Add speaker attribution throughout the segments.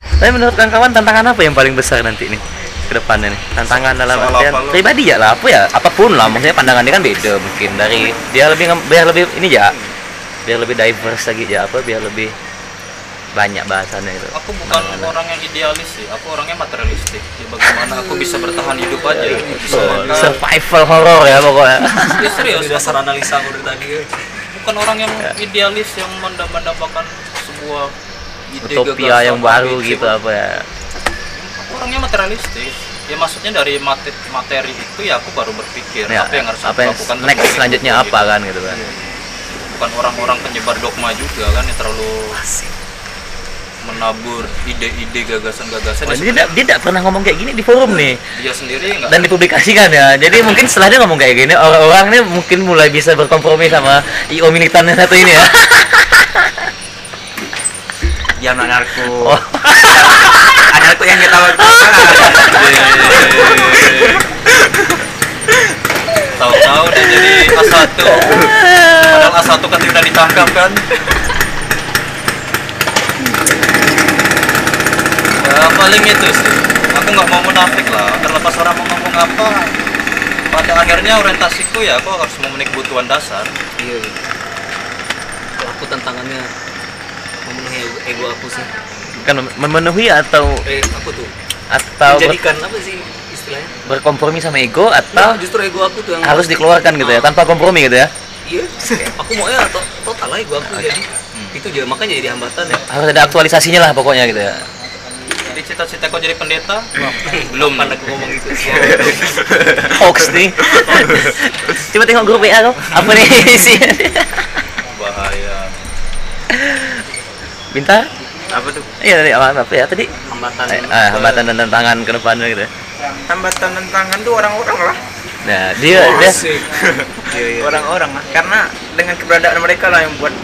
Speaker 1: Tapi menurut kawan-kawan tantangan apa yang paling besar nanti nih ke depannya nih? Tantangan dalam
Speaker 2: soal
Speaker 1: artian
Speaker 2: apa lu?
Speaker 1: pribadi ya lah, apa ya? Apapun lah, maksudnya pandangannya kan beda mungkin dari dia lebih ngem- biar lebih ini ya, biar lebih diverse lagi ya apa biar lebih banyak bahasannya gitu.
Speaker 3: aku bukan orang yang idealis sih aku orangnya materialistik ya bagaimana aku bisa bertahan hidup aja
Speaker 1: Iya,
Speaker 3: gitu. bisa makan
Speaker 1: Survival horror ya pokoknya.
Speaker 3: Ya, serius
Speaker 2: Dari dasar analisa aku dari tadi
Speaker 3: bukan orang yang
Speaker 1: Iya.
Speaker 3: idealis yang mendambakan sebuah ide
Speaker 1: Utopia
Speaker 3: gagasan,
Speaker 1: yang baru
Speaker 3: ambisi.
Speaker 1: gitu apa ya.
Speaker 3: Aku orangnya materialistis ya maksudnya dari materi, materi itu ya aku baru berpikir
Speaker 1: Ya,
Speaker 3: apa yang harus
Speaker 1: apa
Speaker 3: aku
Speaker 1: yang
Speaker 3: lakukan
Speaker 1: next
Speaker 3: sebagai
Speaker 1: selanjutnya
Speaker 3: individu
Speaker 1: apa kan gitu kan.
Speaker 3: bukan orang-orang penyebar dogma juga kan yang terlalu menabur ide-ide gagasan-gagasan
Speaker 1: Oh,
Speaker 3: ya
Speaker 1: dia tidak dia tidak pernah ngomong kayak gini di forum nih.
Speaker 3: sebenarnya dia sendiri nggak
Speaker 1: dan dipublikasikan ya jadi mungkin setelah dia ngomong kayak gini orang-orang nih mungkin mulai bisa berkompromi sama io militan yang satu ini ya
Speaker 4: Iya,
Speaker 5: Dia anak narko.
Speaker 1: oh
Speaker 5: Anak narko yang kita
Speaker 3: iya, tahu-tahu dia jadi A1 padahal A1 ketika ditangkap kan ya paling itu sih aku nggak mau menafik lah terlepas orang mau ngomong apa pada akhirnya orientasiku ya aku harus memenuhi kebutuhan dasar
Speaker 4: Iya. iya. Kalau Aku tantangannya memenuhi ego- ego aku sih.
Speaker 1: kan memenuhi atau
Speaker 4: Eh, aku tuh
Speaker 1: atau ber-
Speaker 4: menjadikan apa sih istilahnya?
Speaker 1: berkompromi sama ego
Speaker 4: Nah,
Speaker 1: atau
Speaker 4: justru ego aku tuh yang
Speaker 1: harus dikeluarkan gitu ya
Speaker 4: Ah,
Speaker 1: tanpa kompromi gitu ya
Speaker 4: Iya. Aku mau ya to- total lah ego aku jadi
Speaker 1: Hmm.
Speaker 4: itu jadi makanya jadi hambatan ya.
Speaker 1: harus ada aktualisasinya lah pokoknya gitu ya
Speaker 3: jadi cita-cita kau jadi pendeta belum
Speaker 4: Kapan aku ngomong gitu?
Speaker 1: hoax nih coba tengok grup WA tuh apa nih isinya
Speaker 3: bahaya
Speaker 1: Bintar?
Speaker 5: Apa tuh?
Speaker 1: Iya tadi apa, apa ya tadi?
Speaker 4: hambatan.
Speaker 1: Eh, ah, hambatan dan tantangan ke depannya gitu. ya.
Speaker 5: Hambatan tantangan tuh orang-orang lah.
Speaker 1: Nah, dia dia
Speaker 4: Asik.
Speaker 1: Iya,
Speaker 5: Orang-orang lah. Karena dengan keberadaan mereka lah yang buat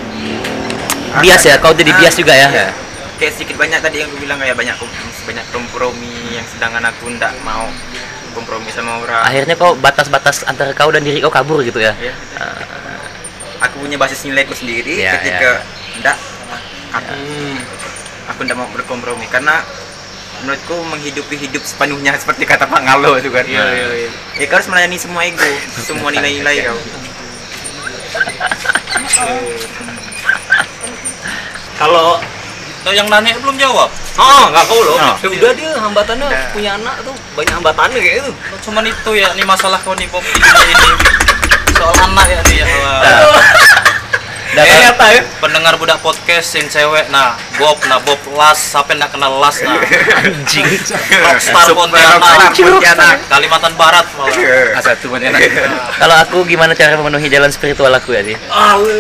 Speaker 1: bias ya, kau jadi bias juga ya.
Speaker 5: Iya. kayak sedikit banyak tadi yang gue bilang kayak banyak kompromi, banyak kompromi yang sedangkan aku ndak mau kompromi sama orang.
Speaker 1: akhirnya kau batas-batas antara kau dan diri kau kabur gitu ya
Speaker 5: Ya.
Speaker 1: Ah,
Speaker 5: Aku punya basis nilaiku sendiri
Speaker 1: Iya,
Speaker 5: ketika ndak aku
Speaker 4: Hmm.
Speaker 5: aku ndak mau berkompromi karena menurutku menghidupi hidup sepenuhnya seperti kata Pak Ngalo itu kan.
Speaker 4: Iya, iya, iya.
Speaker 5: Ya kau harus melayani semua ego, semua nilai-nilai kau.
Speaker 4: Kalau
Speaker 3: Tuh, yang nanya belum jawab
Speaker 4: oh nggak kau loh.
Speaker 5: Oh.
Speaker 4: Udah dia hambatannya
Speaker 1: Ya.
Speaker 5: Udah.
Speaker 4: punya anak tuh banyak hambatannya kayak itu.
Speaker 3: Oh, cuman itu ya ini masalah kau nih Bob ini ini. soal anak ya dia Wah.
Speaker 1: Nah. Ah. dan
Speaker 3: Eh,
Speaker 1: kau-
Speaker 4: Ternyata ya.
Speaker 3: pendengar budak podcast yang cewek nah Bob nah Bob las sampai nggak kenal las nah
Speaker 1: anjing
Speaker 3: rockstar
Speaker 5: Rockstar
Speaker 3: Pontianak
Speaker 5: Pontianak.
Speaker 3: Kalimantan Barat malah
Speaker 5: Satu Pontianak.
Speaker 1: kalau aku gimana cara memenuhi jalan spiritual aku ya sih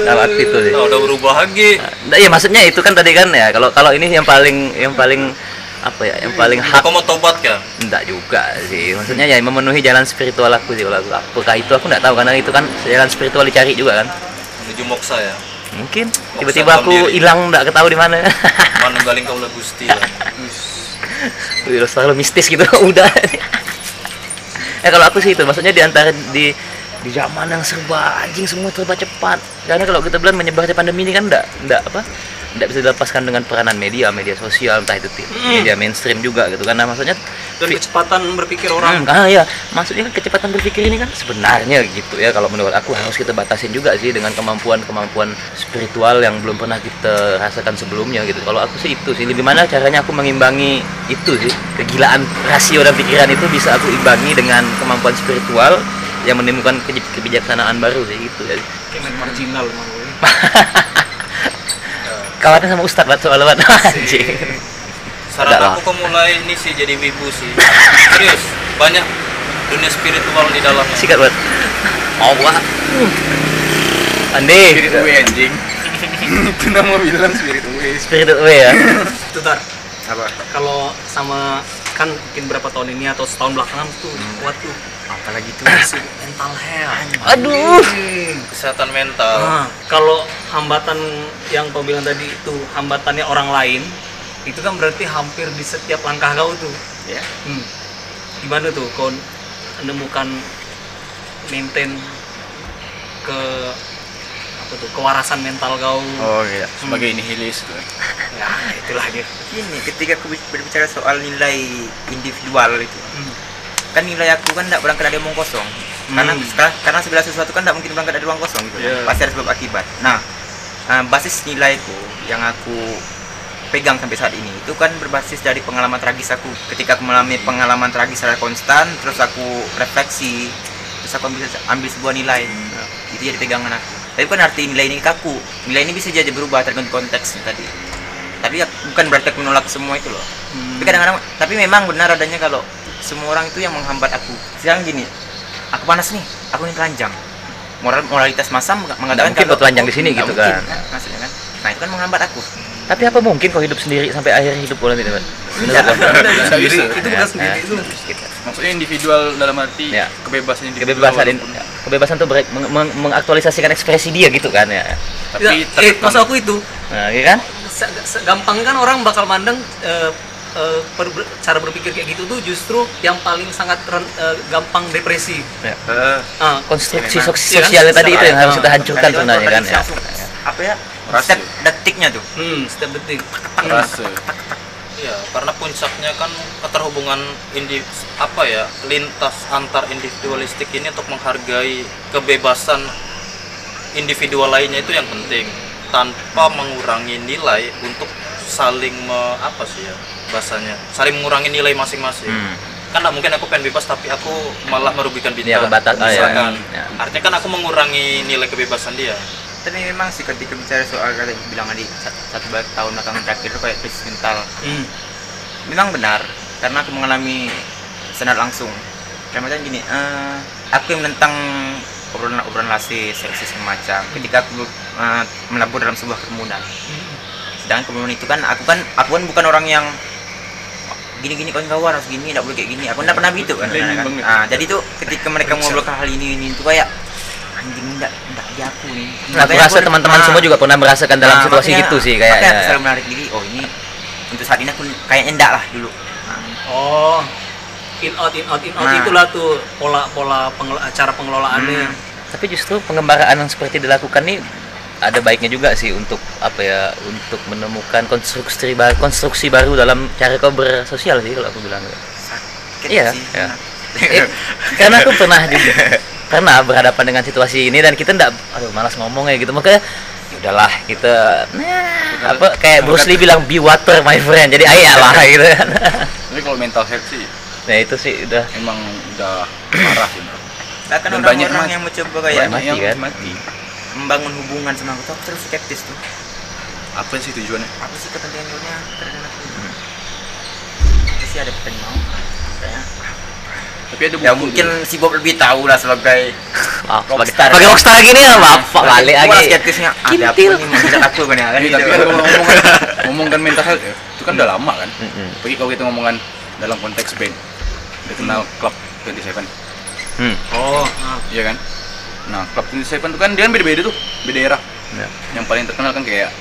Speaker 1: kalau aku itu sih
Speaker 3: Nah, udah berubah lagi
Speaker 1: nah, ya maksudnya itu kan tadi kan ya kalau kalau ini yang paling yang paling apa ya yang paling hak
Speaker 3: kau mau tobat kan
Speaker 1: enggak juga sih maksudnya ya memenuhi jalan spiritual aku sih kalau aku apakah itu aku enggak tahu karena itu kan jalan spiritual dicari juga kan
Speaker 3: menuju moksa ya
Speaker 1: mungkin tiba-tiba aku
Speaker 3: dalam diri.
Speaker 1: hilang enggak ketahui di mana
Speaker 3: manunggaling kaulah gusti lah
Speaker 1: Udah selalu mistis gitu udah. ya kalau aku sih itu maksudnya di antara di di zaman yang serba anjing semua serba cepat. Karena kalau kita bilang menyebarnya pandemi ini kan enggak enggak apa? Enggak bisa dilepaskan dengan peranan media, media sosial entah itu ti- media mainstream juga gitu karena maksudnya
Speaker 4: Dan kecepatan berpikir orang.
Speaker 1: Hmm, ah ya, maksudnya kan kecepatan berpikir ini kan sebenarnya gitu ya kalau menurut aku harus kita batasin juga sih dengan kemampuan-kemampuan spiritual yang belum pernah kita rasakan sebelumnya gitu. Kalau aku sih itu sih lebih mana caranya aku mengimbangi itu sih kegilaan rasio dan pikiran itu bisa aku imbangi dengan kemampuan spiritual yang menimbulkan ke- kebijaksanaan baru sih gitu ya.
Speaker 4: Kayak marginal.
Speaker 1: Kawannya sama Ustadz buat soal buat anjing.
Speaker 3: saran
Speaker 1: Enggak lah.
Speaker 3: aku kau mulai ini sih jadi wibu sih serius banyak dunia spiritual di dalamnya
Speaker 1: Sikat buat. Allah. Andi,
Speaker 2: Spirit gue anjing Itu nama bilang spirit gue
Speaker 1: spirit away ya.
Speaker 4: Itu tar.
Speaker 5: Apa?
Speaker 4: Kalau sama kan mungkin berapa tahun ini atau setahun belakangan tuh kuat tuh Ah.
Speaker 5: Apalagi itu.
Speaker 4: isu mental health.
Speaker 1: Aduh.
Speaker 3: kesehatan mental
Speaker 4: Nah, kalau hambatan yang kau bilang tadi itu hambatannya orang lain, itu kan berarti hampir di setiap langkah kau tuh.
Speaker 5: Ya.
Speaker 4: Hmm. Gimana tuh kau menemukan maintain ke apa tuh kewarasan mental kau
Speaker 3: oh iya sebagai nihilis tuh
Speaker 4: ya itulah dia
Speaker 5: ini ketika aku berbicara soal nilai individual itu
Speaker 4: Hmm.
Speaker 5: kan nilai aku kan tidak berangkat dari omong kosong karena
Speaker 4: Hmm.
Speaker 5: sekal- karena segala sesuatu kan tidak mungkin berangkat dari ruang kosong gitu kan.
Speaker 3: Iya.
Speaker 5: pasti ada sebab akibat nah eh, basis nilaiku yang aku pegang sampai saat ini itu kan berbasis dari pengalaman tragis aku ketika aku mengalami pengalaman tragis secara konstan terus aku refleksi terus aku ambil, ambil sebuah nilai Nah,
Speaker 1: Hmm.
Speaker 5: itu jadi pegangan aku tapi bukan arti nilai ini kaku nilai ini bisa jadi berubah tergantung konteksnya tadi tapi ya bukan berarti aku menolak semua itu loh
Speaker 1: Hmm.
Speaker 5: tapi kadang-kadang tapi memang benar adanya kalau semua orang itu yang menghambat aku sekarang gini aku panas nih aku ini telanjang moral moralitas masa meng- mengatakan
Speaker 1: mungkin
Speaker 5: kalau-
Speaker 1: kau telanjang di sini
Speaker 5: Nggak
Speaker 1: gitu
Speaker 5: mungkin,
Speaker 1: kan.
Speaker 5: maksudnya kan nah itu kan menghambat aku
Speaker 1: Tapi apa mungkin kau hidup sendiri sampai akhir hidup kau nanti, teman?
Speaker 4: Iya.
Speaker 1: Menurut kau?
Speaker 3: Nggak bisa.
Speaker 4: itu
Speaker 1: Ya,
Speaker 4: bukan sendiri
Speaker 1: ya.
Speaker 4: itu
Speaker 3: maksudnya individual dalam arti
Speaker 1: Ya.
Speaker 3: kebebasan individual
Speaker 1: kebebasan
Speaker 3: walaupun-
Speaker 1: kebebasan tuh ber- meng- meng- mengaktualisasikan ekspresi dia gitu kan ya.
Speaker 4: Ya,
Speaker 3: tapi
Speaker 4: eh,
Speaker 3: tertekan.
Speaker 4: maksud aku itu
Speaker 1: Nah, iya kan?
Speaker 4: se- se- gampang kan orang bakal mandang eh, eh, per- ber- cara berpikir kayak gitu tuh justru yang paling sangat ren- eh, gampang depresi
Speaker 3: Eh,
Speaker 4: Ah,
Speaker 1: Konstruksi
Speaker 5: Memang.
Speaker 1: sos- sosialnya
Speaker 4: Iya kan?
Speaker 1: tadi itu yang harus
Speaker 4: Ah.
Speaker 1: kita hancurkan sebenarnya kan ya.
Speaker 5: Langsung, apa ya
Speaker 3: Rasio.
Speaker 5: step detiknya tuh
Speaker 4: hmm, setiap detik Hmm.
Speaker 3: rasa
Speaker 6: Iya, karena puncaknya kan keterhubungan indi apa ya lintas antar individualistik ini untuk menghargai kebebasan individual lainnya itu yang penting tanpa mengurangi nilai untuk saling me- apa sih ya bahasanya saling mengurangi nilai masing-masing
Speaker 1: Hmm.
Speaker 6: kan nggak mungkin aku pengen bebas tapi aku malah merugikan
Speaker 1: Dia
Speaker 6: bintang
Speaker 1: kebatas oh, ya.
Speaker 6: misalkan
Speaker 1: Ya.
Speaker 6: artinya kan aku mengurangi nilai kebebasan dia
Speaker 5: tapi memang sih ketika bicara soal kata bilang tadi sa- satu ba- tahun belakangan terakhir itu kayak krisis mental
Speaker 4: Hmm.
Speaker 5: memang benar karena aku mengalami senat langsung dan macam gini eh, aku yang menentang obrolan obrolan rasis seksis semacam ketika aku eh, melabur dalam sebuah kerumunan sedangkan kerumunan itu kan aku kan aku kan bukan orang yang gini-gini kawan-kawan harus gini tidak boleh kayak gini aku tidak pernah gitu kan,
Speaker 3: Iya, iya,
Speaker 5: kan?
Speaker 3: banget.
Speaker 5: Ah, jadi tuh ketika mereka ngobrol ke hal ini ini itu kayak anjing tidak tidak di aku Ah. nih
Speaker 1: Nah,
Speaker 4: Iya.
Speaker 1: aku rasa teman-teman semua juga pernah merasakan
Speaker 5: Ah,
Speaker 1: dalam situasi gitu sih
Speaker 5: kayak aku
Speaker 1: kayaknya.
Speaker 5: selalu menarik diri oh ini untuk saat ini aku kayaknya enggak lah dulu Nah,
Speaker 4: oh in out in out in out
Speaker 5: Nah.
Speaker 4: itulah tuh pola pola pengel- eh, cara pengelolaannya
Speaker 5: Hmm.
Speaker 1: Tapi justru pengembaraan yang seperti dilakukan nih ada baiknya juga sih untuk apa ya untuk menemukan konstruksi baru konstruksi baru dalam cara kau bersosial sih kalau aku bilang ya.
Speaker 5: sakit
Speaker 1: Iya,
Speaker 5: sih
Speaker 1: iya.
Speaker 5: Nah,
Speaker 1: Eh, karena aku pernah juga pernah berhadapan dengan situasi ini dan kita ndak aduh malas ngomong ya gitu makanya ya udahlah kita nah, apa kayak Bruce Lee bilang be water my friend jadi ayalah gitu kan
Speaker 3: tapi kalau mental health sih
Speaker 1: nah itu sih udah
Speaker 3: emang udah parah sih bro.
Speaker 5: bahkan
Speaker 3: Dan banyak
Speaker 5: orang-orang
Speaker 3: mati.
Speaker 5: yang mencoba kayak
Speaker 1: Banyak. mati,
Speaker 3: yang
Speaker 1: kan?
Speaker 3: mati
Speaker 5: membangun hubungan sama aku tuh aku terus skeptis tuh
Speaker 3: apa sih tujuannya
Speaker 5: apa sih kepentingan dunia terhadap aku
Speaker 1: Hmm.
Speaker 5: pasti ada kepentingan mau Kayaknya.
Speaker 3: tapi ada
Speaker 5: ya
Speaker 3: buku
Speaker 5: mungkin si Bob lebih tahu lah sebagai
Speaker 1: ah, sebagai
Speaker 5: Rockstar.
Speaker 1: sebagai rockstar gini ya bapak kali
Speaker 5: Gua
Speaker 1: lagi
Speaker 5: skeptisnya "Ah, ada apa
Speaker 1: Kintil.
Speaker 5: nih menghujat aku kan ya kan
Speaker 3: Ini
Speaker 5: gitu.
Speaker 3: tapi kan kalau ngomongan, ngomongkan mental health ya, itu kan udah lama kan.
Speaker 1: Mm-mm.
Speaker 3: Apalagi kalau kita ngomongan dalam konteks band, dia kenal Club 27,
Speaker 1: Hmm,
Speaker 4: oh ah.
Speaker 3: iya kan? Nah, Club 27 itu kan dia kan beda-beda tuh, beda era.
Speaker 1: ya.
Speaker 3: Yang paling terkenal kan kayak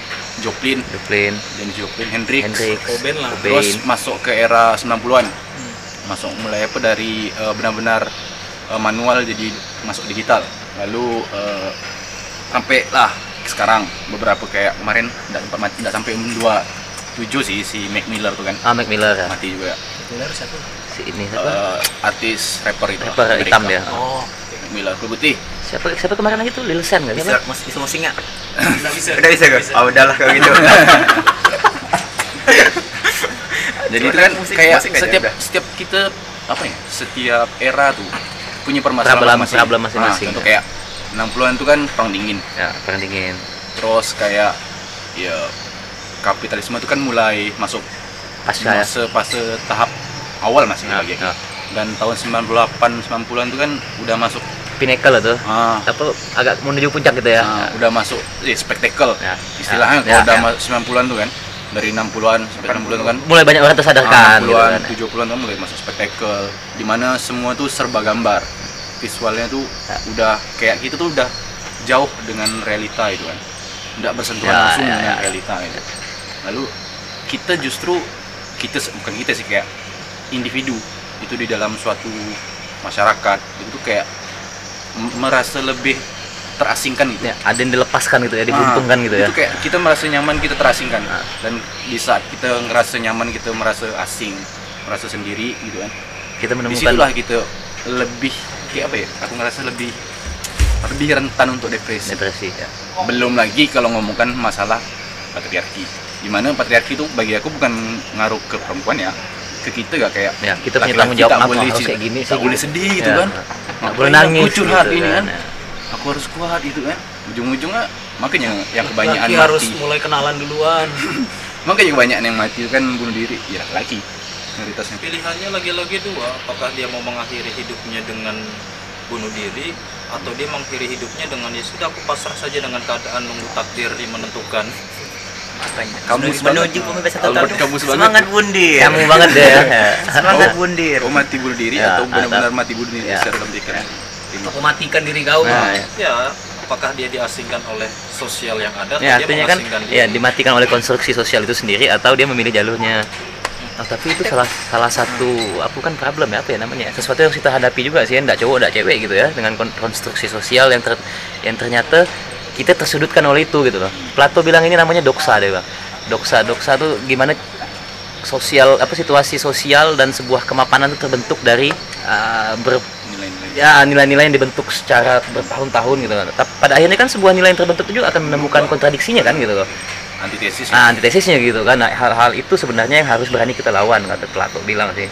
Speaker 3: Joplin,
Speaker 1: Duplin,
Speaker 3: Janis Joplin, Hendrix.
Speaker 1: Hendrix,
Speaker 4: Cobain lah.
Speaker 1: Cobain.
Speaker 3: Terus masuk ke era 90-an. Masuk mulai apa dari eh, benar-benar eh, manual jadi masuk digital. Lalu eh, sampai lah sekarang beberapa kayak kemarin nggak sempat mati- nggak sampai umur dua tujuh sih si Mac Miller tuh kan
Speaker 1: Ah, Mac Miller ya.
Speaker 3: mati juga
Speaker 4: Bener siapa
Speaker 1: Si ini siapa?
Speaker 3: Eh, artis rapper itu
Speaker 1: Rapper hitam dia.
Speaker 4: oh
Speaker 3: Mac Miller kulit putih
Speaker 1: Siapa siapa kemarin lagi tuh Lil Sen enggak
Speaker 5: bisa
Speaker 1: siapa?
Speaker 5: mas bisa musik nggak
Speaker 4: nggak bisa
Speaker 5: udah bisa gak oh udahlah kalau gitu
Speaker 3: jadi
Speaker 5: Cuman
Speaker 3: itu kan
Speaker 5: musik-
Speaker 3: kayak
Speaker 5: musik aja
Speaker 3: setiap
Speaker 5: udah.
Speaker 3: setiap kita apa ya setiap era tuh punya
Speaker 1: Problem-
Speaker 3: permasalahan masing-masing.
Speaker 1: problem masing-masing,
Speaker 3: Nah, contoh
Speaker 1: ya.
Speaker 3: kayak 60-an tuh kan perang dingin
Speaker 1: Ya, perang dingin.
Speaker 3: terus kayak ya kapitalisme itu kan mulai masuk
Speaker 1: Pasca ya.
Speaker 3: fase fase tahap awal masih
Speaker 1: Ya,
Speaker 2: Nah,
Speaker 3: lagi
Speaker 2: gitu.
Speaker 1: ya.
Speaker 3: dan tahun 98 90-an itu kan udah masuk
Speaker 1: Pinnacle lah tuh.
Speaker 3: ah,
Speaker 1: Apa agak menuju puncak gitu ya.
Speaker 3: ah, udah masuk eh, spektakel
Speaker 1: Ya.
Speaker 3: istilahnya
Speaker 1: Ya,
Speaker 3: kalau udah
Speaker 1: ya.
Speaker 3: ma- 90-an tuh kan dari 60-an sampai 60-an tuh kan
Speaker 1: Mulai banyak orang
Speaker 2: Ah,
Speaker 1: tersadarkan gitu
Speaker 3: 60-an,
Speaker 1: kan.
Speaker 3: 70-an tuh mulai ya, masuk spektakel dimana semua tuh serba gambar visualnya tuh udah kayak gitu tuh udah jauh dengan realita itu kan nggak bersentuhan
Speaker 1: Ya,
Speaker 3: langsung
Speaker 1: ya,
Speaker 3: dengan
Speaker 1: ya.
Speaker 3: realita gitu. lalu kita justru kita se- bukan kita sih kayak individu itu di dalam suatu masyarakat itu tuh kayak m- merasa lebih
Speaker 2: terasingkan gitu.
Speaker 1: Ya, ada yang dilepaskan gitu ya, dibuntungkan
Speaker 2: Ah,
Speaker 1: gitu ya.
Speaker 2: Itu kayak kita merasa nyaman, kita terasingkan.
Speaker 1: Ah.
Speaker 2: Dan di saat kita ngerasa nyaman, kita merasa asing, merasa sendiri gitu kan.
Speaker 1: Kita menemukan
Speaker 2: Disitulah kita lebih kayak apa ya? Aku ngerasa lebih lebih rentan untuk depresi.
Speaker 1: depresi. Ya.
Speaker 2: Belum lagi kalau ngomongkan masalah patriarki. Dimana patriarki itu bagi aku bukan ngaruh ke perempuan ya, ke kita gak kayak
Speaker 1: Ya, kita punya
Speaker 2: laki-laki
Speaker 1: tanggung jawab
Speaker 2: tak
Speaker 1: apa,
Speaker 2: boleh
Speaker 1: harus
Speaker 2: cerita-
Speaker 1: kayak gini
Speaker 2: tak
Speaker 1: sih.
Speaker 2: boleh sedih gitu
Speaker 1: Ya.
Speaker 2: kan
Speaker 1: Nggak boleh
Speaker 2: Ngapain
Speaker 1: nangis
Speaker 2: aku curhat
Speaker 1: gitu
Speaker 2: ini
Speaker 1: kan,
Speaker 2: kan
Speaker 1: ya.
Speaker 2: aku harus kuat gitu kan ujung-ujungnya makanya yang kebanyakan
Speaker 4: Laki
Speaker 2: mati
Speaker 4: harus mulai kenalan duluan.
Speaker 2: makanya kebanyakan yang mati itu kan bunuh diri ya laki mayoritasnya
Speaker 3: Pilihannya lagi-lagi dua, apakah dia mau mengakhiri hidupnya dengan bunuh diri atau dia mengakhiri hidupnya dengan ya sudah aku pasrah saja dengan keadaan nunggu takdir yang menentukan.
Speaker 5: kamu
Speaker 2: Sudah
Speaker 5: menuju
Speaker 2: dibangun.
Speaker 5: pembebasan
Speaker 2: Albert
Speaker 5: total
Speaker 2: Camus banget.
Speaker 5: semangat bundir
Speaker 1: Kamu banget deh ya. Ya.
Speaker 5: semangat
Speaker 2: Oh.
Speaker 5: bundir
Speaker 2: kau mati bunuh diri
Speaker 1: Ya,
Speaker 2: atau benar-benar mati bunuh diri
Speaker 1: Ya.
Speaker 2: secara Nah, dalam pikiran Tengok.
Speaker 4: Aku matikan diri kau.
Speaker 1: Nah, ya.
Speaker 3: Ya, apakah dia diasingkan oleh sosial yang ada
Speaker 1: Ya,
Speaker 3: atau dia
Speaker 1: artinya kan
Speaker 3: mengasingkan diri?
Speaker 1: ya dimatikan oleh konstruksi sosial itu sendiri atau dia memilih jalurnya. Nah, tapi itu salah salah satu apa kan problem ya apa ya namanya ya? sesuatu yang harus kita hadapi juga sih enggak cowok enggak cewek gitu ya dengan kon- konstruksi sosial yang ter- yang ternyata kita tersudutkan oleh itu gitu loh. Plato bilang ini namanya doksa deh, Bang. Doksa, doksa tuh gimana sosial apa situasi sosial dan sebuah kemapanan itu terbentuk dari uh, ber,
Speaker 2: nilai-nilai
Speaker 1: ya nilai-nilai yang dibentuk secara bertahun-tahun gitu kan. Tapi pada akhirnya kan sebuah nilai yang terbentuk itu juga akan menemukan kontradiksinya kan gitu loh.
Speaker 2: antitesis
Speaker 1: Nah, antitesisnya gitu kan. Nah, hal-hal itu sebenarnya yang harus berani kita lawan kata Plato bilang sih.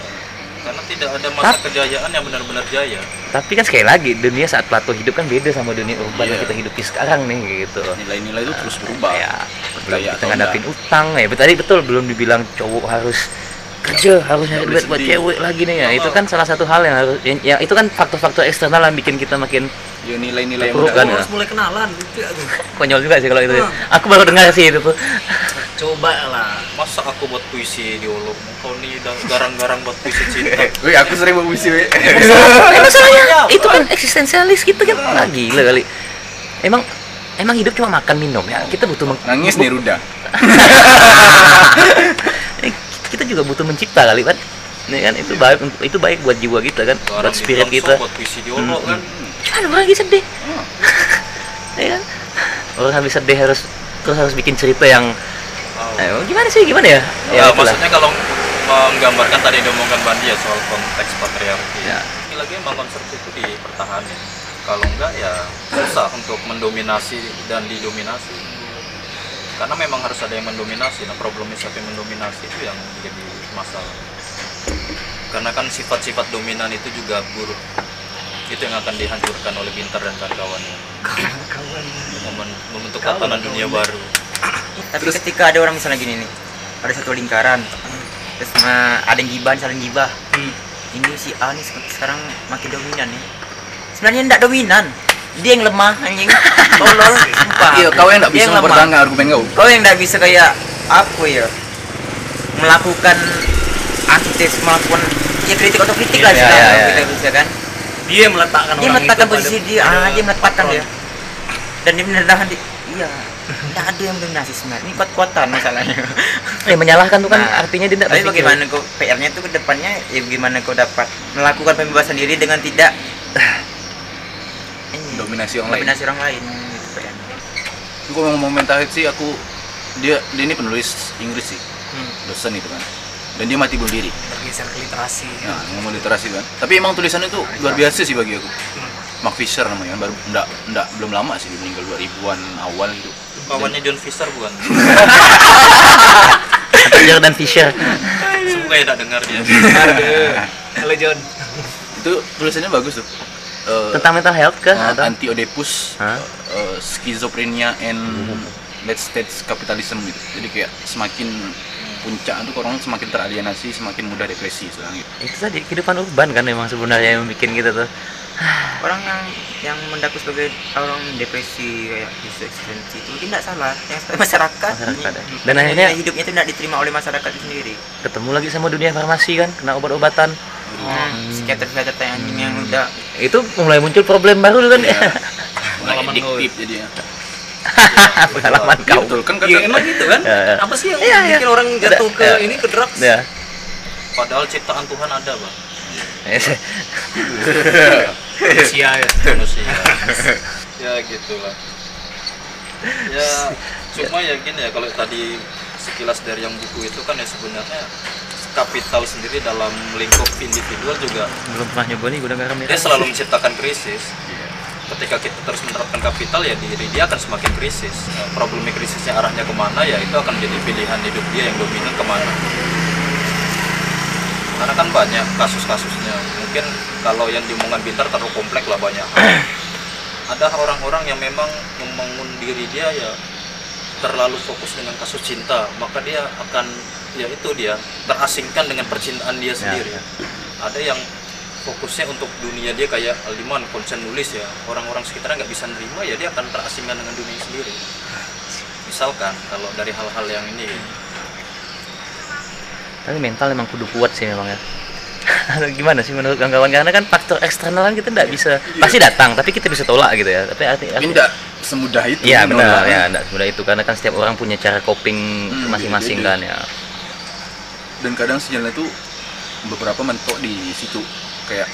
Speaker 3: Karena tidak ada masa kejayaan yang benar-benar jaya.
Speaker 1: Tapi kan sekali lagi dunia saat Plato hidup kan beda sama dunia urban yang
Speaker 2: Iya.
Speaker 1: kita hidupi sekarang nih gitu.
Speaker 2: nilai-nilai itu terus berubah
Speaker 1: Ya, belum
Speaker 2: Kaya
Speaker 1: kita
Speaker 2: atau
Speaker 1: ngadapin utang ya. Betul tadi betul belum dibilang cowok harus kerja harus nyari
Speaker 2: Nggak
Speaker 1: duit
Speaker 2: boleh
Speaker 1: buat
Speaker 2: sedih.
Speaker 1: cewek lagi nih ya.
Speaker 3: Oh.
Speaker 1: Itu kan salah satu hal yang harus yang, ya, itu kan faktor-faktor eksternal yang bikin kita makin
Speaker 2: ya nilai-nilai yang
Speaker 1: Terpuruk
Speaker 2: udah-
Speaker 1: kan,
Speaker 4: Aku
Speaker 1: ya?
Speaker 4: harus mulai kenalan. Itu ya, aduh.
Speaker 1: konyol juga sih kalau itu. ya. Aku baru dengar sih itu tuh.
Speaker 4: Coba lah.
Speaker 3: Masa aku buat puisi di Ulung? Kau nih dah garang-garang buat puisi cinta.
Speaker 2: Wih, aku sering buat puisi, weh.
Speaker 1: Eh, masalahnya itu kan eksistensialis gitu kan ah, gila kali emang emang hidup cuma makan minum ya kita butuh meng-
Speaker 2: Nangis
Speaker 1: bu-
Speaker 2: Neruda.
Speaker 1: eh, kita juga butuh mencipta kali kan Nih kan itu baik itu baik buat jiwa kita kan
Speaker 3: Garang
Speaker 1: buat
Speaker 3: di
Speaker 1: spirit
Speaker 3: Blangso,
Speaker 1: kita Hmm,
Speaker 3: Buat puisi di Ulung kan.
Speaker 1: gimana orang lagi sedih ya kan orang habis sedih harus terus harus bikin cerita yang
Speaker 3: Oh.
Speaker 1: eh, gimana sih gimana ya
Speaker 3: Ya,
Speaker 1: itulah.
Speaker 3: maksudnya kalau menggambarkan tadi diomongan Bandi ya soal konteks patriarki.
Speaker 1: Ya.
Speaker 3: Lagi-lagi emang konsep itu dipertahankan. Kalau enggak ya susah untuk mendominasi dan didominasi. Karena memang harus ada yang mendominasi. Nah, problemnya siapa yang mendominasi itu yang jadi masalah. Karena kan sifat-sifat dominan itu juga buruk. Itu yang akan dihancurkan oleh Pinter dan kawan-kawannya. Momen- Membentuk tatanan dunia baru.
Speaker 5: tapi ketika ada orang misalnya gini nih ada satu lingkaran terus nah, ada yang gibah saling gibah
Speaker 4: Hmm.
Speaker 5: ini si A nih sek- sekarang makin dominan ya sebenarnya tidak dominan dia yang lemah anjing tolol sumpah
Speaker 1: Ah,
Speaker 2: Iya, kau yang nggak
Speaker 5: Dia
Speaker 2: bisa
Speaker 5: lemah
Speaker 2: mempertanggung argumen kau.
Speaker 5: kau yang tidak bisa kayak apa ya melakukan antitesis melakukan ya kritik atau kritik
Speaker 1: Iya,
Speaker 5: lah
Speaker 1: iya,
Speaker 5: sekarang
Speaker 1: iya,
Speaker 5: kalau
Speaker 1: iya.
Speaker 5: kita bisa kan
Speaker 4: Dia yang meletakkan
Speaker 5: dia
Speaker 4: orang
Speaker 5: meletakkan
Speaker 4: itu pada-
Speaker 5: posisi dia ah,
Speaker 4: pada
Speaker 5: dia meletakkan
Speaker 4: front.
Speaker 5: dia dan dia menendahkan dia iya tidak ada yang dominasi sebenarnya ini kuat-kuatan masalahnya
Speaker 1: eh, menyalahkan tuh kan
Speaker 5: Nah,
Speaker 1: artinya dia tidak
Speaker 5: tapi
Speaker 1: berpikir.
Speaker 5: bagaimana kau PR-nya tuh ke depannya ya bagaimana kau dapat melakukan pembebasan diri dengan tidak ini,
Speaker 2: Dominasi orang lain.
Speaker 5: dominasi orang lain gitu PR-nya.
Speaker 2: Gue ngomong mental health sih aku dia dia ini penulis Inggris sih
Speaker 4: Hmm,
Speaker 2: dosen itu kan dan dia mati bunuh diri
Speaker 4: bergeser ke literasi.
Speaker 2: nah ngomong literasi kan tapi emang tulisannya tuh luar biasa sih bagi aku
Speaker 4: Hmm.
Speaker 2: Mark Fisher namanya kan baru ndak ndak belum lama sih dia meninggal 2000-an awal gitu
Speaker 3: Kawannya John Fisher bukan?
Speaker 1: Jordan Fisher
Speaker 3: Semoga ya tak dengar dia.
Speaker 4: Aduh. Halo John.
Speaker 2: itu tulisannya bagus tuh Eh,
Speaker 1: tentang mental health kah
Speaker 2: eh,
Speaker 1: atau
Speaker 2: anti Oedipus
Speaker 1: Hah?
Speaker 2: eh, schizophrenia and
Speaker 1: Hmm.
Speaker 2: late stage capitalism gitu jadi kayak semakin puncak tuh orang semakin teralienasi semakin mudah depresi sekarang gitu
Speaker 1: itu tadi Ya, kehidupan urban kan memang sebenarnya yang bikin gitu tuh
Speaker 5: orang yang yang mendaku sebagai orang depresi kayak isu eksistensi itu tidak salah yang sebagai masyarakat,
Speaker 1: Masyarakat, ya.
Speaker 5: ini-
Speaker 1: Dan akhirnya-
Speaker 5: nilai hidupnya itu tidak diterima oleh masyarakat itu sendiri
Speaker 1: ketemu lagi sama dunia farmasi kan kena obat-obatan
Speaker 5: hmm. psikiater psikiater yang anjing yang udah
Speaker 1: itu mulai muncul problem baru kan
Speaker 2: Iya.
Speaker 1: ya
Speaker 2: Mulai
Speaker 4: Pengalaman
Speaker 2: addictive jadinya
Speaker 1: pengalaman
Speaker 2: Iya,
Speaker 1: kau
Speaker 2: betul kan
Speaker 4: Iya,
Speaker 2: kadang
Speaker 4: emang gitu kan?
Speaker 1: Ya, ya.
Speaker 4: Apa sih yang
Speaker 1: Iya, iya.
Speaker 4: bikin orang jatuh ke
Speaker 1: Ada, ya.
Speaker 4: ini ke drugs?
Speaker 1: ya
Speaker 3: Padahal ciptaan Tuhan ada, Bang.
Speaker 1: Ya, sih.
Speaker 4: Manusia ya.
Speaker 3: Manusia. ya gitulah ya cuma ya gini ya kalau tadi sekilas dari yang buku itu kan ya sebenarnya kapital sendiri dalam lingkup individual juga
Speaker 1: belum pernah nyoba nih gudang garam merah
Speaker 3: dia selalu menciptakan krisis
Speaker 2: Iya.
Speaker 3: ketika kita terus menerapkan kapital ya diri dia akan semakin krisis Nah, problemnya krisisnya arahnya kemana ya itu akan jadi pilihan hidup dia yang dominan kemana karena kan banyak kasus-kasusnya mungkin kalau yang diomongkan Bintar terlalu kompleks lah banyak hal. ada orang-orang yang memang membangun diri dia ya terlalu fokus dengan kasus cinta maka dia akan ya itu dia terasingkan dengan percintaan dia sendiri ada yang fokusnya untuk dunia dia kayak Aldiman konsen nulis ya orang-orang sekitarnya nggak bisa nerima ya dia akan terasingan dengan dunia sendiri misalkan kalau dari hal-hal yang ini
Speaker 1: tapi mental memang kudu kuat sih memang ya gimana sih menurut Kang Gawan karena kan faktor eksternal kan kita nggak bisa
Speaker 2: Iya.
Speaker 1: pasti datang tapi kita bisa tolak gitu ya tapi arti,
Speaker 2: Tapi
Speaker 1: arti-
Speaker 2: tidak semudah itu.
Speaker 1: Iya
Speaker 2: menolak.
Speaker 1: benar ya, enggak semudah itu karena kan setiap orang punya cara coping
Speaker 2: Hmm,
Speaker 1: masing-masing kan
Speaker 2: beda-beda.
Speaker 1: ya.
Speaker 2: Dan kadang sinyalnya itu beberapa mentok di situ kayak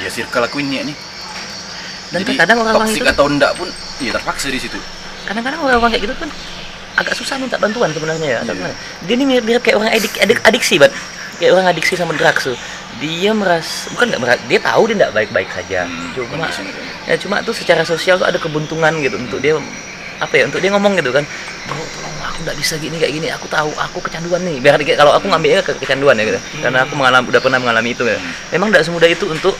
Speaker 2: ya circle aku ini ya nih.
Speaker 1: Dan terkadang orang-orang
Speaker 2: toxic
Speaker 1: itu- kan
Speaker 2: atau enggak pun ya terpaksa di situ.
Speaker 1: Kadang-kadang orang-orang kayak gitu kan agak susah minta bantuan sebenarnya ya.
Speaker 2: Iya.
Speaker 1: Karena Dia ini mirip-mirip kayak orang adik, adik adiksi, Bat. Kayak orang adiksi sama drugs tuh. Dia merasa bukan nggak merasa, dia tahu dia nggak baik-baik saja.
Speaker 2: Hmm,
Speaker 1: cuma
Speaker 2: kondisinya kayak gitu.
Speaker 1: ya cuma tuh secara sosial tuh ada kebuntungan gitu untuk dia apa ya untuk dia ngomong gitu kan bro tolong aku nggak bisa gini kayak gini aku tahu aku kecanduan nih biar kayak kalau aku ngambilnya ke kecanduan ya gitu karena aku mengalami udah pernah mengalami itu ya memang nggak semudah itu untuk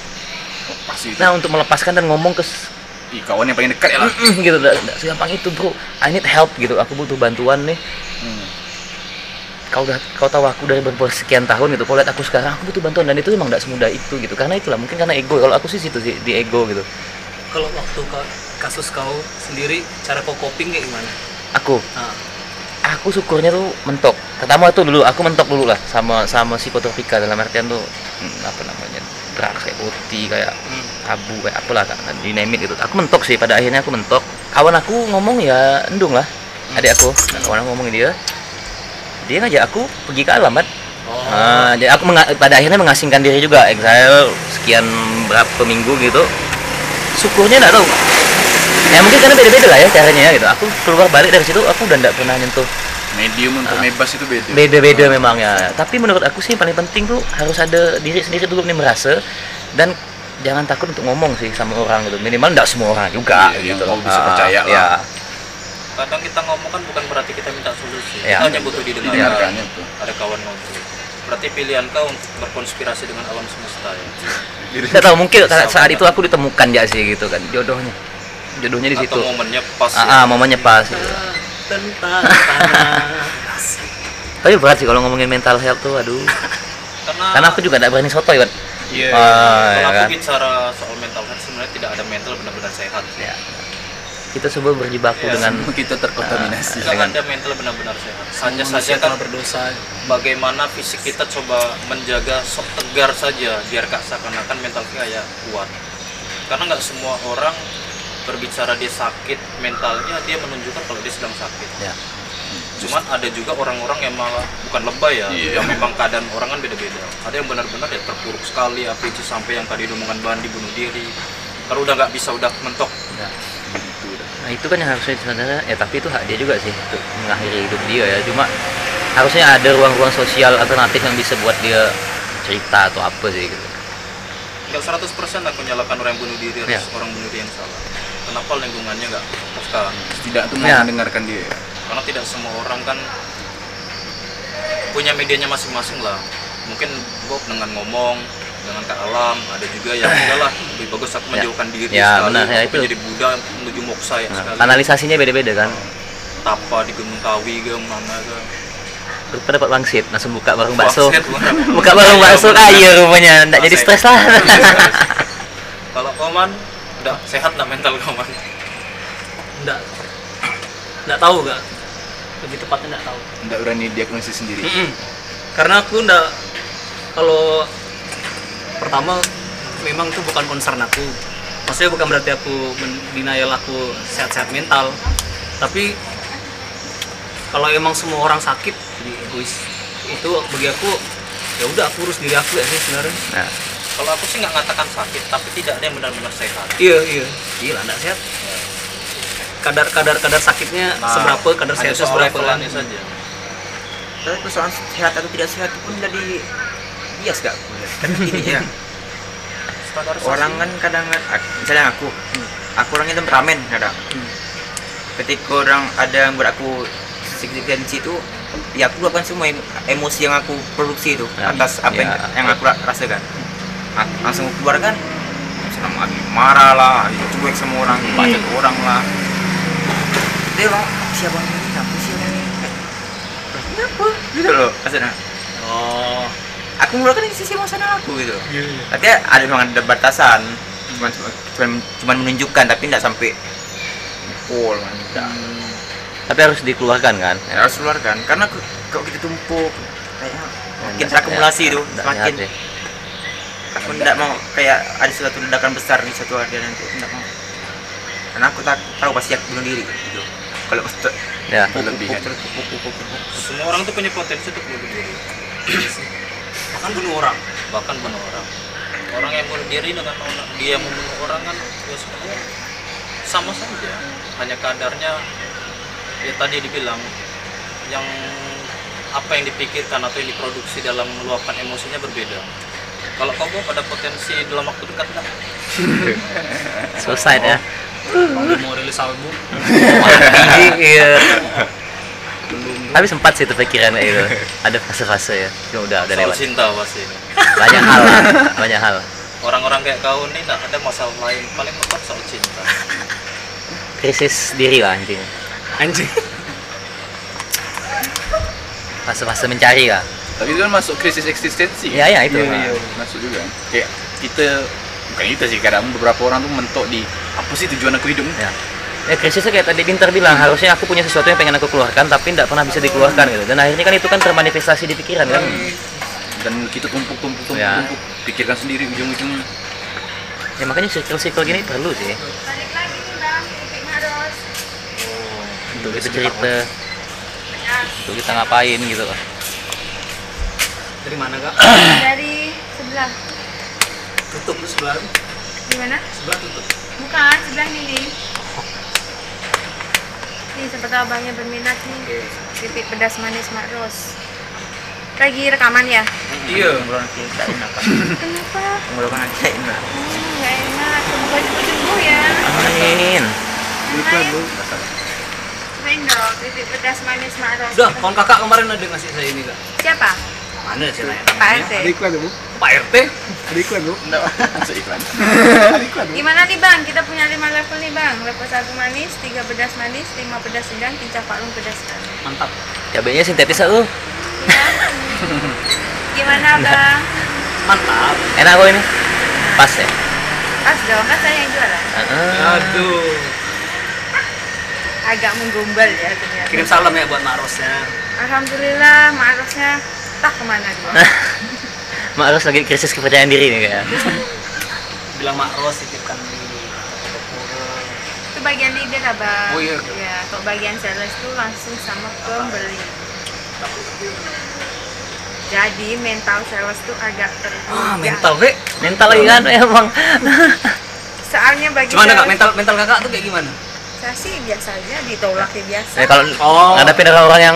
Speaker 2: Pasti itu.
Speaker 1: nah untuk melepaskan dan ngomong ke s-
Speaker 2: Ih, kawan yang paling dekat ya lah.
Speaker 1: "Mm-mm," gitu nggak nggak segampang itu bro I need help gitu aku butuh bantuan nih
Speaker 2: Hmm.
Speaker 1: kau udah kau tahu aku dari berapa sekian tahun gitu kau lihat aku sekarang aku butuh bantuan dan itu memang nggak semudah itu gitu karena itulah mungkin karena ego kalau aku sih situ sih di ego gitu
Speaker 4: Kalau waktu ka- kasus kau sendiri cara kau coping kayak gimana?
Speaker 1: aku
Speaker 4: Nah,
Speaker 3: Ah.
Speaker 1: aku syukurnya tuh mentok pertama tuh dulu aku mentok dulu lah sama sama psikotropika dalam artian tuh hmm, apa namanya drugs kayak putih kayak
Speaker 4: hmm.
Speaker 1: abu kayak apalah kan dinamit gitu aku mentok sih pada akhirnya aku mentok kawan aku ngomong ya endung lah adik aku kawan aku ngomongin dia dia ngajak aku pergi ke alamat
Speaker 4: Oh.
Speaker 1: Ah, jadi aku menga- pada akhirnya mengasingkan diri juga exile sekian berapa minggu gitu syukurnya nggak tahu ya mungkin karena beda-beda lah ya caranya ya, gitu aku keluar balik dari situ aku udah nggak pernah nyentuh
Speaker 2: Medium
Speaker 1: Ah.
Speaker 2: untuk bebas itu beda.
Speaker 1: beda-beda memang ya tapi menurut aku sih yang paling penting tuh harus ada diri sendiri dulu nih merasa dan jangan takut untuk ngomong sih sama orang gitu minimal nggak semua orang juga
Speaker 2: Iya,
Speaker 1: gitu
Speaker 2: yang
Speaker 1: loh.
Speaker 2: kau bisa
Speaker 1: Ah,
Speaker 2: percaya
Speaker 1: ya.
Speaker 2: lah.
Speaker 3: kadang kita ngomong kan bukan berarti kita minta solusi
Speaker 1: Ya.
Speaker 3: kita hanya butuh didengarkan
Speaker 1: Iya,
Speaker 2: Didengarkannya tuh.
Speaker 3: ada kawan ngobrol berarti pilihan kau untuk berkonspirasi dengan alam semesta ya
Speaker 1: nggak tahu mungkin saat saat itu aku ditemukan ya sih gitu kan jodohnya jodohnya di situ
Speaker 3: atau momennya pas
Speaker 1: ah, ah
Speaker 3: ya.
Speaker 1: momennya pas gitu.
Speaker 4: Tentang tanah. Asik.
Speaker 1: tapi berat sih kalau ngomongin mental health tuh aduh
Speaker 3: karena,
Speaker 1: karena aku juga nggak berani sotoy kan
Speaker 2: Iya. gitu.
Speaker 1: Ah, ya
Speaker 3: kalau aku
Speaker 1: kan
Speaker 3: bicara soal mental health sebenarnya tidak ada mental benar-benar sehat
Speaker 1: Ya. kita semua berjibaku
Speaker 3: Ya,
Speaker 1: dengan
Speaker 2: Semua kita terkontaminasi.
Speaker 3: tidak
Speaker 1: Dengan-
Speaker 3: ada mental benar-benar sehat hanya
Speaker 4: Manusia
Speaker 3: saja kan
Speaker 4: telah berdosa.
Speaker 3: bagaimana fisik kita coba menjaga sok tegar saja biar kak seakan-akan mental kayak kuat karena nggak semua orang berbicara dia sakit mentalnya dia menunjukkan kalau dia sedang sakit
Speaker 1: Ya.
Speaker 3: cuman ada juga orang-orang yang malah bukan lebay ya
Speaker 2: Iya.
Speaker 3: yang memang keadaan orang kan beda-beda ada yang benar-benar ya terpuruk sekali APC sampai yang tadi domongan bahan dibunuh diri kalau udah nggak bisa udah mentok
Speaker 2: Gitu dah.
Speaker 1: Nah itu kan yang harusnya sebenarnya ya tapi itu hak dia juga sih untuk mengakhiri hidup dia ya cuma harusnya ada ruang-ruang sosial alternatif yang bisa buat dia cerita atau apa sih gitu.
Speaker 3: nggak 100% aku nyalakan orang yang bunuh diri harus
Speaker 1: Iya.
Speaker 3: orang bunuh diri yang salah kenapa lingkungannya nggak peka
Speaker 2: Tidak tuh mau
Speaker 1: Ya.
Speaker 2: mendengarkan dia.
Speaker 3: karena tidak semua orang kan punya medianya masing-masing lah mungkin Bob dengan ngomong dengan ke alam ada juga yang udahlah lebih bagus aku menjauhkan diri
Speaker 1: Ya,
Speaker 3: sekali
Speaker 1: benar, ya,
Speaker 3: aku
Speaker 1: itu.
Speaker 3: jadi Buddha menuju moksa ya
Speaker 1: Nah,
Speaker 3: sekali
Speaker 1: kanalisasinya beda-beda kan.
Speaker 3: tapa di Gunung Kawi ke mana ke
Speaker 1: Kita dapat wangsit langsung buka warung bakso.
Speaker 3: Wangsit, bukan.
Speaker 1: Buka warung bakso
Speaker 3: Iya, benar.
Speaker 1: kaya rumahnya nggak jadi
Speaker 3: Wangsit.
Speaker 1: stres lah.
Speaker 3: kalau koman udah sehat nggak mental koman
Speaker 4: Enggak. Enggak tahu enggak? Lebih tepatnya enggak tahu.
Speaker 2: Tidak berani diagnosis sendiri.
Speaker 1: Hmm.
Speaker 4: Mm-mm. Karena aku ndak kalau pertama memang itu bukan concern aku. Maksudnya bukan berarti aku men- denial aku sehat-sehat mental. Tapi kalau emang semua orang sakit jadi egois itu bagi aku ya udah aku urus diri aku ya sih sebenarnya
Speaker 1: Nah,
Speaker 3: kalau aku sih nggak ngatakan sakit tapi tidak ada yang benar-benar sehat
Speaker 4: iya iya gila nggak sehat kadar kadar kadar sakitnya
Speaker 3: Nah,
Speaker 4: seberapa kadar
Speaker 3: hanya
Speaker 4: sehatnya
Speaker 3: soal
Speaker 4: seberapa kan
Speaker 3: levelannya saja
Speaker 5: Tapi persoalan sehat atau tidak sehat itu pun dari bias gak? Kan gini ya.
Speaker 3: Standarisasi.
Speaker 5: orang kan kadang ak- misalnya aku aku orangnya temperamen kadang
Speaker 4: Hmm.
Speaker 5: ketika orang ada yang buat aku signifikansi itu ya aku luapkan semua em- emosi yang aku produksi itu
Speaker 1: Ya.
Speaker 5: atas apa yang,
Speaker 1: Ya.
Speaker 5: yang aku ra- rasakan A- langsung aku keluarkan misalnya mau lagi marah lah ya cuek sama orang bacot orang lah dia orang siapa ini apa sih orang ini Eh, kenapa gitu loh maksudnya
Speaker 4: oh
Speaker 5: aku mengeluarkan sisi emosional aku gitu tapi ada memang ada batasan cuman cuman, cuman menunjukkan tapi tidak sampai pukul tidak
Speaker 1: Tapi harus dikeluarkan kan?
Speaker 5: Ya, harus keluarkan karena ke- kalau kita tumpuk kayaknya makin terakumulasi
Speaker 1: akumulasi
Speaker 5: tuh semakin aku tidak mau kayak ada suatu ledakan besar di suatu hari nanti aku tidak mau karena aku tak tahu pasti aku bunuh diri gitu kalau ter-
Speaker 1: Ya.
Speaker 2: berlebihan
Speaker 5: terus pupuk, pupuk, pupuk.
Speaker 3: semua orang tuh punya potensi untuk bunuh diri
Speaker 4: bahkan bunuh orang
Speaker 3: bahkan bunuh orang orang yang bunuh diri dengan orang- dia membunuh orang kan ya sebenarnya sama saja hanya kadarnya ya tadi dibilang yang apa yang dipikirkan atau yang diproduksi dalam meluapkan emosinya berbeda kalau kau Bob, ada potensi dalam waktu dekat nggak?
Speaker 1: Suicide ya.
Speaker 4: kalau mau rilis album
Speaker 1: Iya. Tapi sempat sih tuh pikiran kayak itu. Ada fase-fase ya. Cuma udah udah
Speaker 3: soal
Speaker 1: lewat.
Speaker 3: cinta pasti
Speaker 1: Banyak hal, lah. banyak hal.
Speaker 3: orang-orang kayak kau ini nggak ada masalah lain paling mentok soal cinta
Speaker 1: Krisis diri lah intinya.
Speaker 4: anjing
Speaker 1: Fase-fase mencari lah.
Speaker 2: tapi itu kan masuk krisis eksistensi
Speaker 1: Ya ya itu.
Speaker 2: Nah, masuk juga kayak kita bukan kita sih kadang beberapa orang tuh mentok di apa sih tujuan aku hidup ni?
Speaker 1: Ya. Ya krisisnya kayak tadi Pintar bilang harusnya aku punya sesuatu yang pengen aku keluarkan tapi tidak pernah bisa dikeluarkan gitu. Dan akhirnya kan itu kan termanifestasi di pikiran kan.
Speaker 2: dan kita tumpuk tumpuk tumpuk,
Speaker 1: Ya.
Speaker 2: tumpuk. pikirkan sendiri ujung ujungnya
Speaker 1: Ya makanya circle-circle gini perlu sih.
Speaker 7: balik lagi nih bang kupingnya harus
Speaker 1: Oh, Untuk kita cerita, untuk kita ngapain gitu loh.
Speaker 4: dari mana kak
Speaker 7: dari sebelah
Speaker 4: tutup lu sebelah
Speaker 7: gimana
Speaker 4: sebelah tutup
Speaker 7: bukan sebelah ini nih nih seperti abangnya berminat nih keripik pedas manis mak Ros lagi rekaman ya
Speaker 4: iya
Speaker 5: Ngobrol nanti tak enak kan
Speaker 7: kenapa
Speaker 5: Ngobrol nanti tak enak
Speaker 7: hmm, nggak enak semoga cepat sembuh ya
Speaker 1: Amin.
Speaker 7: main main dong keripik pedas manis mak Ros
Speaker 4: udah kawan kakak kemarin ada ngasih saya ini kak
Speaker 7: siapa
Speaker 4: mana sih lah
Speaker 7: Pak RT
Speaker 4: pak rt
Speaker 2: Nggak, masuk iklan
Speaker 7: gimana nih bang kita punya lima level nih bang level satu manis tiga pedas manis lima pedas sedang tiga parung pedas manis
Speaker 4: mantap
Speaker 1: Cabenya sintetis aku.
Speaker 7: Ya. Gimana
Speaker 4: Iya.
Speaker 7: bang?
Speaker 4: mantap
Speaker 1: Enak kok ini. Pas ya.
Speaker 7: Pas dong, kan saya yang jualan
Speaker 1: Heeh.
Speaker 4: aduh
Speaker 7: Agak menggombal ya ternyata
Speaker 4: kirim salam ya buat marosnya
Speaker 7: Alhamdulillah, maarosnya tak kemana
Speaker 4: Eh.
Speaker 7: dia
Speaker 1: Mak harus lagi krisis kepercayaan diri nih kan? kayak.
Speaker 4: bilang maros titipkan di Toko-toko.
Speaker 7: Itu bagian leader lah bang
Speaker 4: Oh, iya.
Speaker 7: Ya, kalau bagian sales itu langsung sama pembeli Jadi mental sales itu agak terbuka
Speaker 4: ah mental we
Speaker 1: Mental lagi kan emang.
Speaker 7: Soalnya bagi
Speaker 4: gimana kak
Speaker 7: sales-
Speaker 4: mental mental kakak tuh kayak gimana
Speaker 7: Saya sih biasa aja, ditolak ya biasa
Speaker 1: Ya kalau
Speaker 4: Oh.
Speaker 1: ngadapin orang-orang yang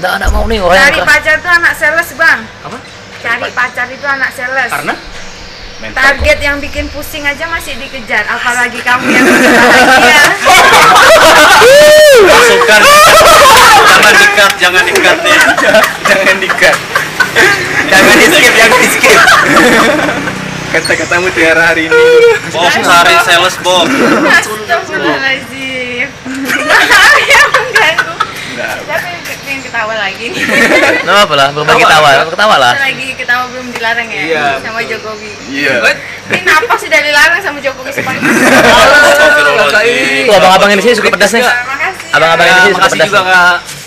Speaker 1: enggak enggak mau nih orang
Speaker 7: Cari
Speaker 1: yang
Speaker 7: pacar itu anak sales bang
Speaker 4: apa
Speaker 7: Cari pacar itu anak sales
Speaker 4: karena
Speaker 2: mental
Speaker 7: target yang bikin pusing aja masih dikejar apalagi kamu yang bahagia
Speaker 2: masukkan jangan dikat jangan dikat nih jangan dikat
Speaker 5: Jangan di skip, jangan di skip
Speaker 2: kata-katamu tiara hari ini
Speaker 3: Bob cari sales Bob
Speaker 7: Astagfirullahaladzim ya mengganggu
Speaker 2: Nggak.
Speaker 7: siapa yang ke- yang ketawa lagi nih
Speaker 1: Nah, apa lah, berbagi tawa, ketawa lah.
Speaker 7: lagi ketawa belum dilarang ya
Speaker 4: Ah. Iya,
Speaker 7: sama
Speaker 4: betul.
Speaker 7: Jokowi
Speaker 2: iya
Speaker 7: ini napas sudah dilarang sama Jokowi sepanjang Iya.
Speaker 4: Astagfirullahaladzim.
Speaker 1: Tuh abang-abang yang di sini suka pedas nih.
Speaker 4: Kak.
Speaker 7: makasih ya.
Speaker 1: Abang-abang yang di
Speaker 4: Ya,
Speaker 1: sini suka
Speaker 4: makasih
Speaker 1: pedas.
Speaker 4: juga
Speaker 1: nih.
Speaker 4: kak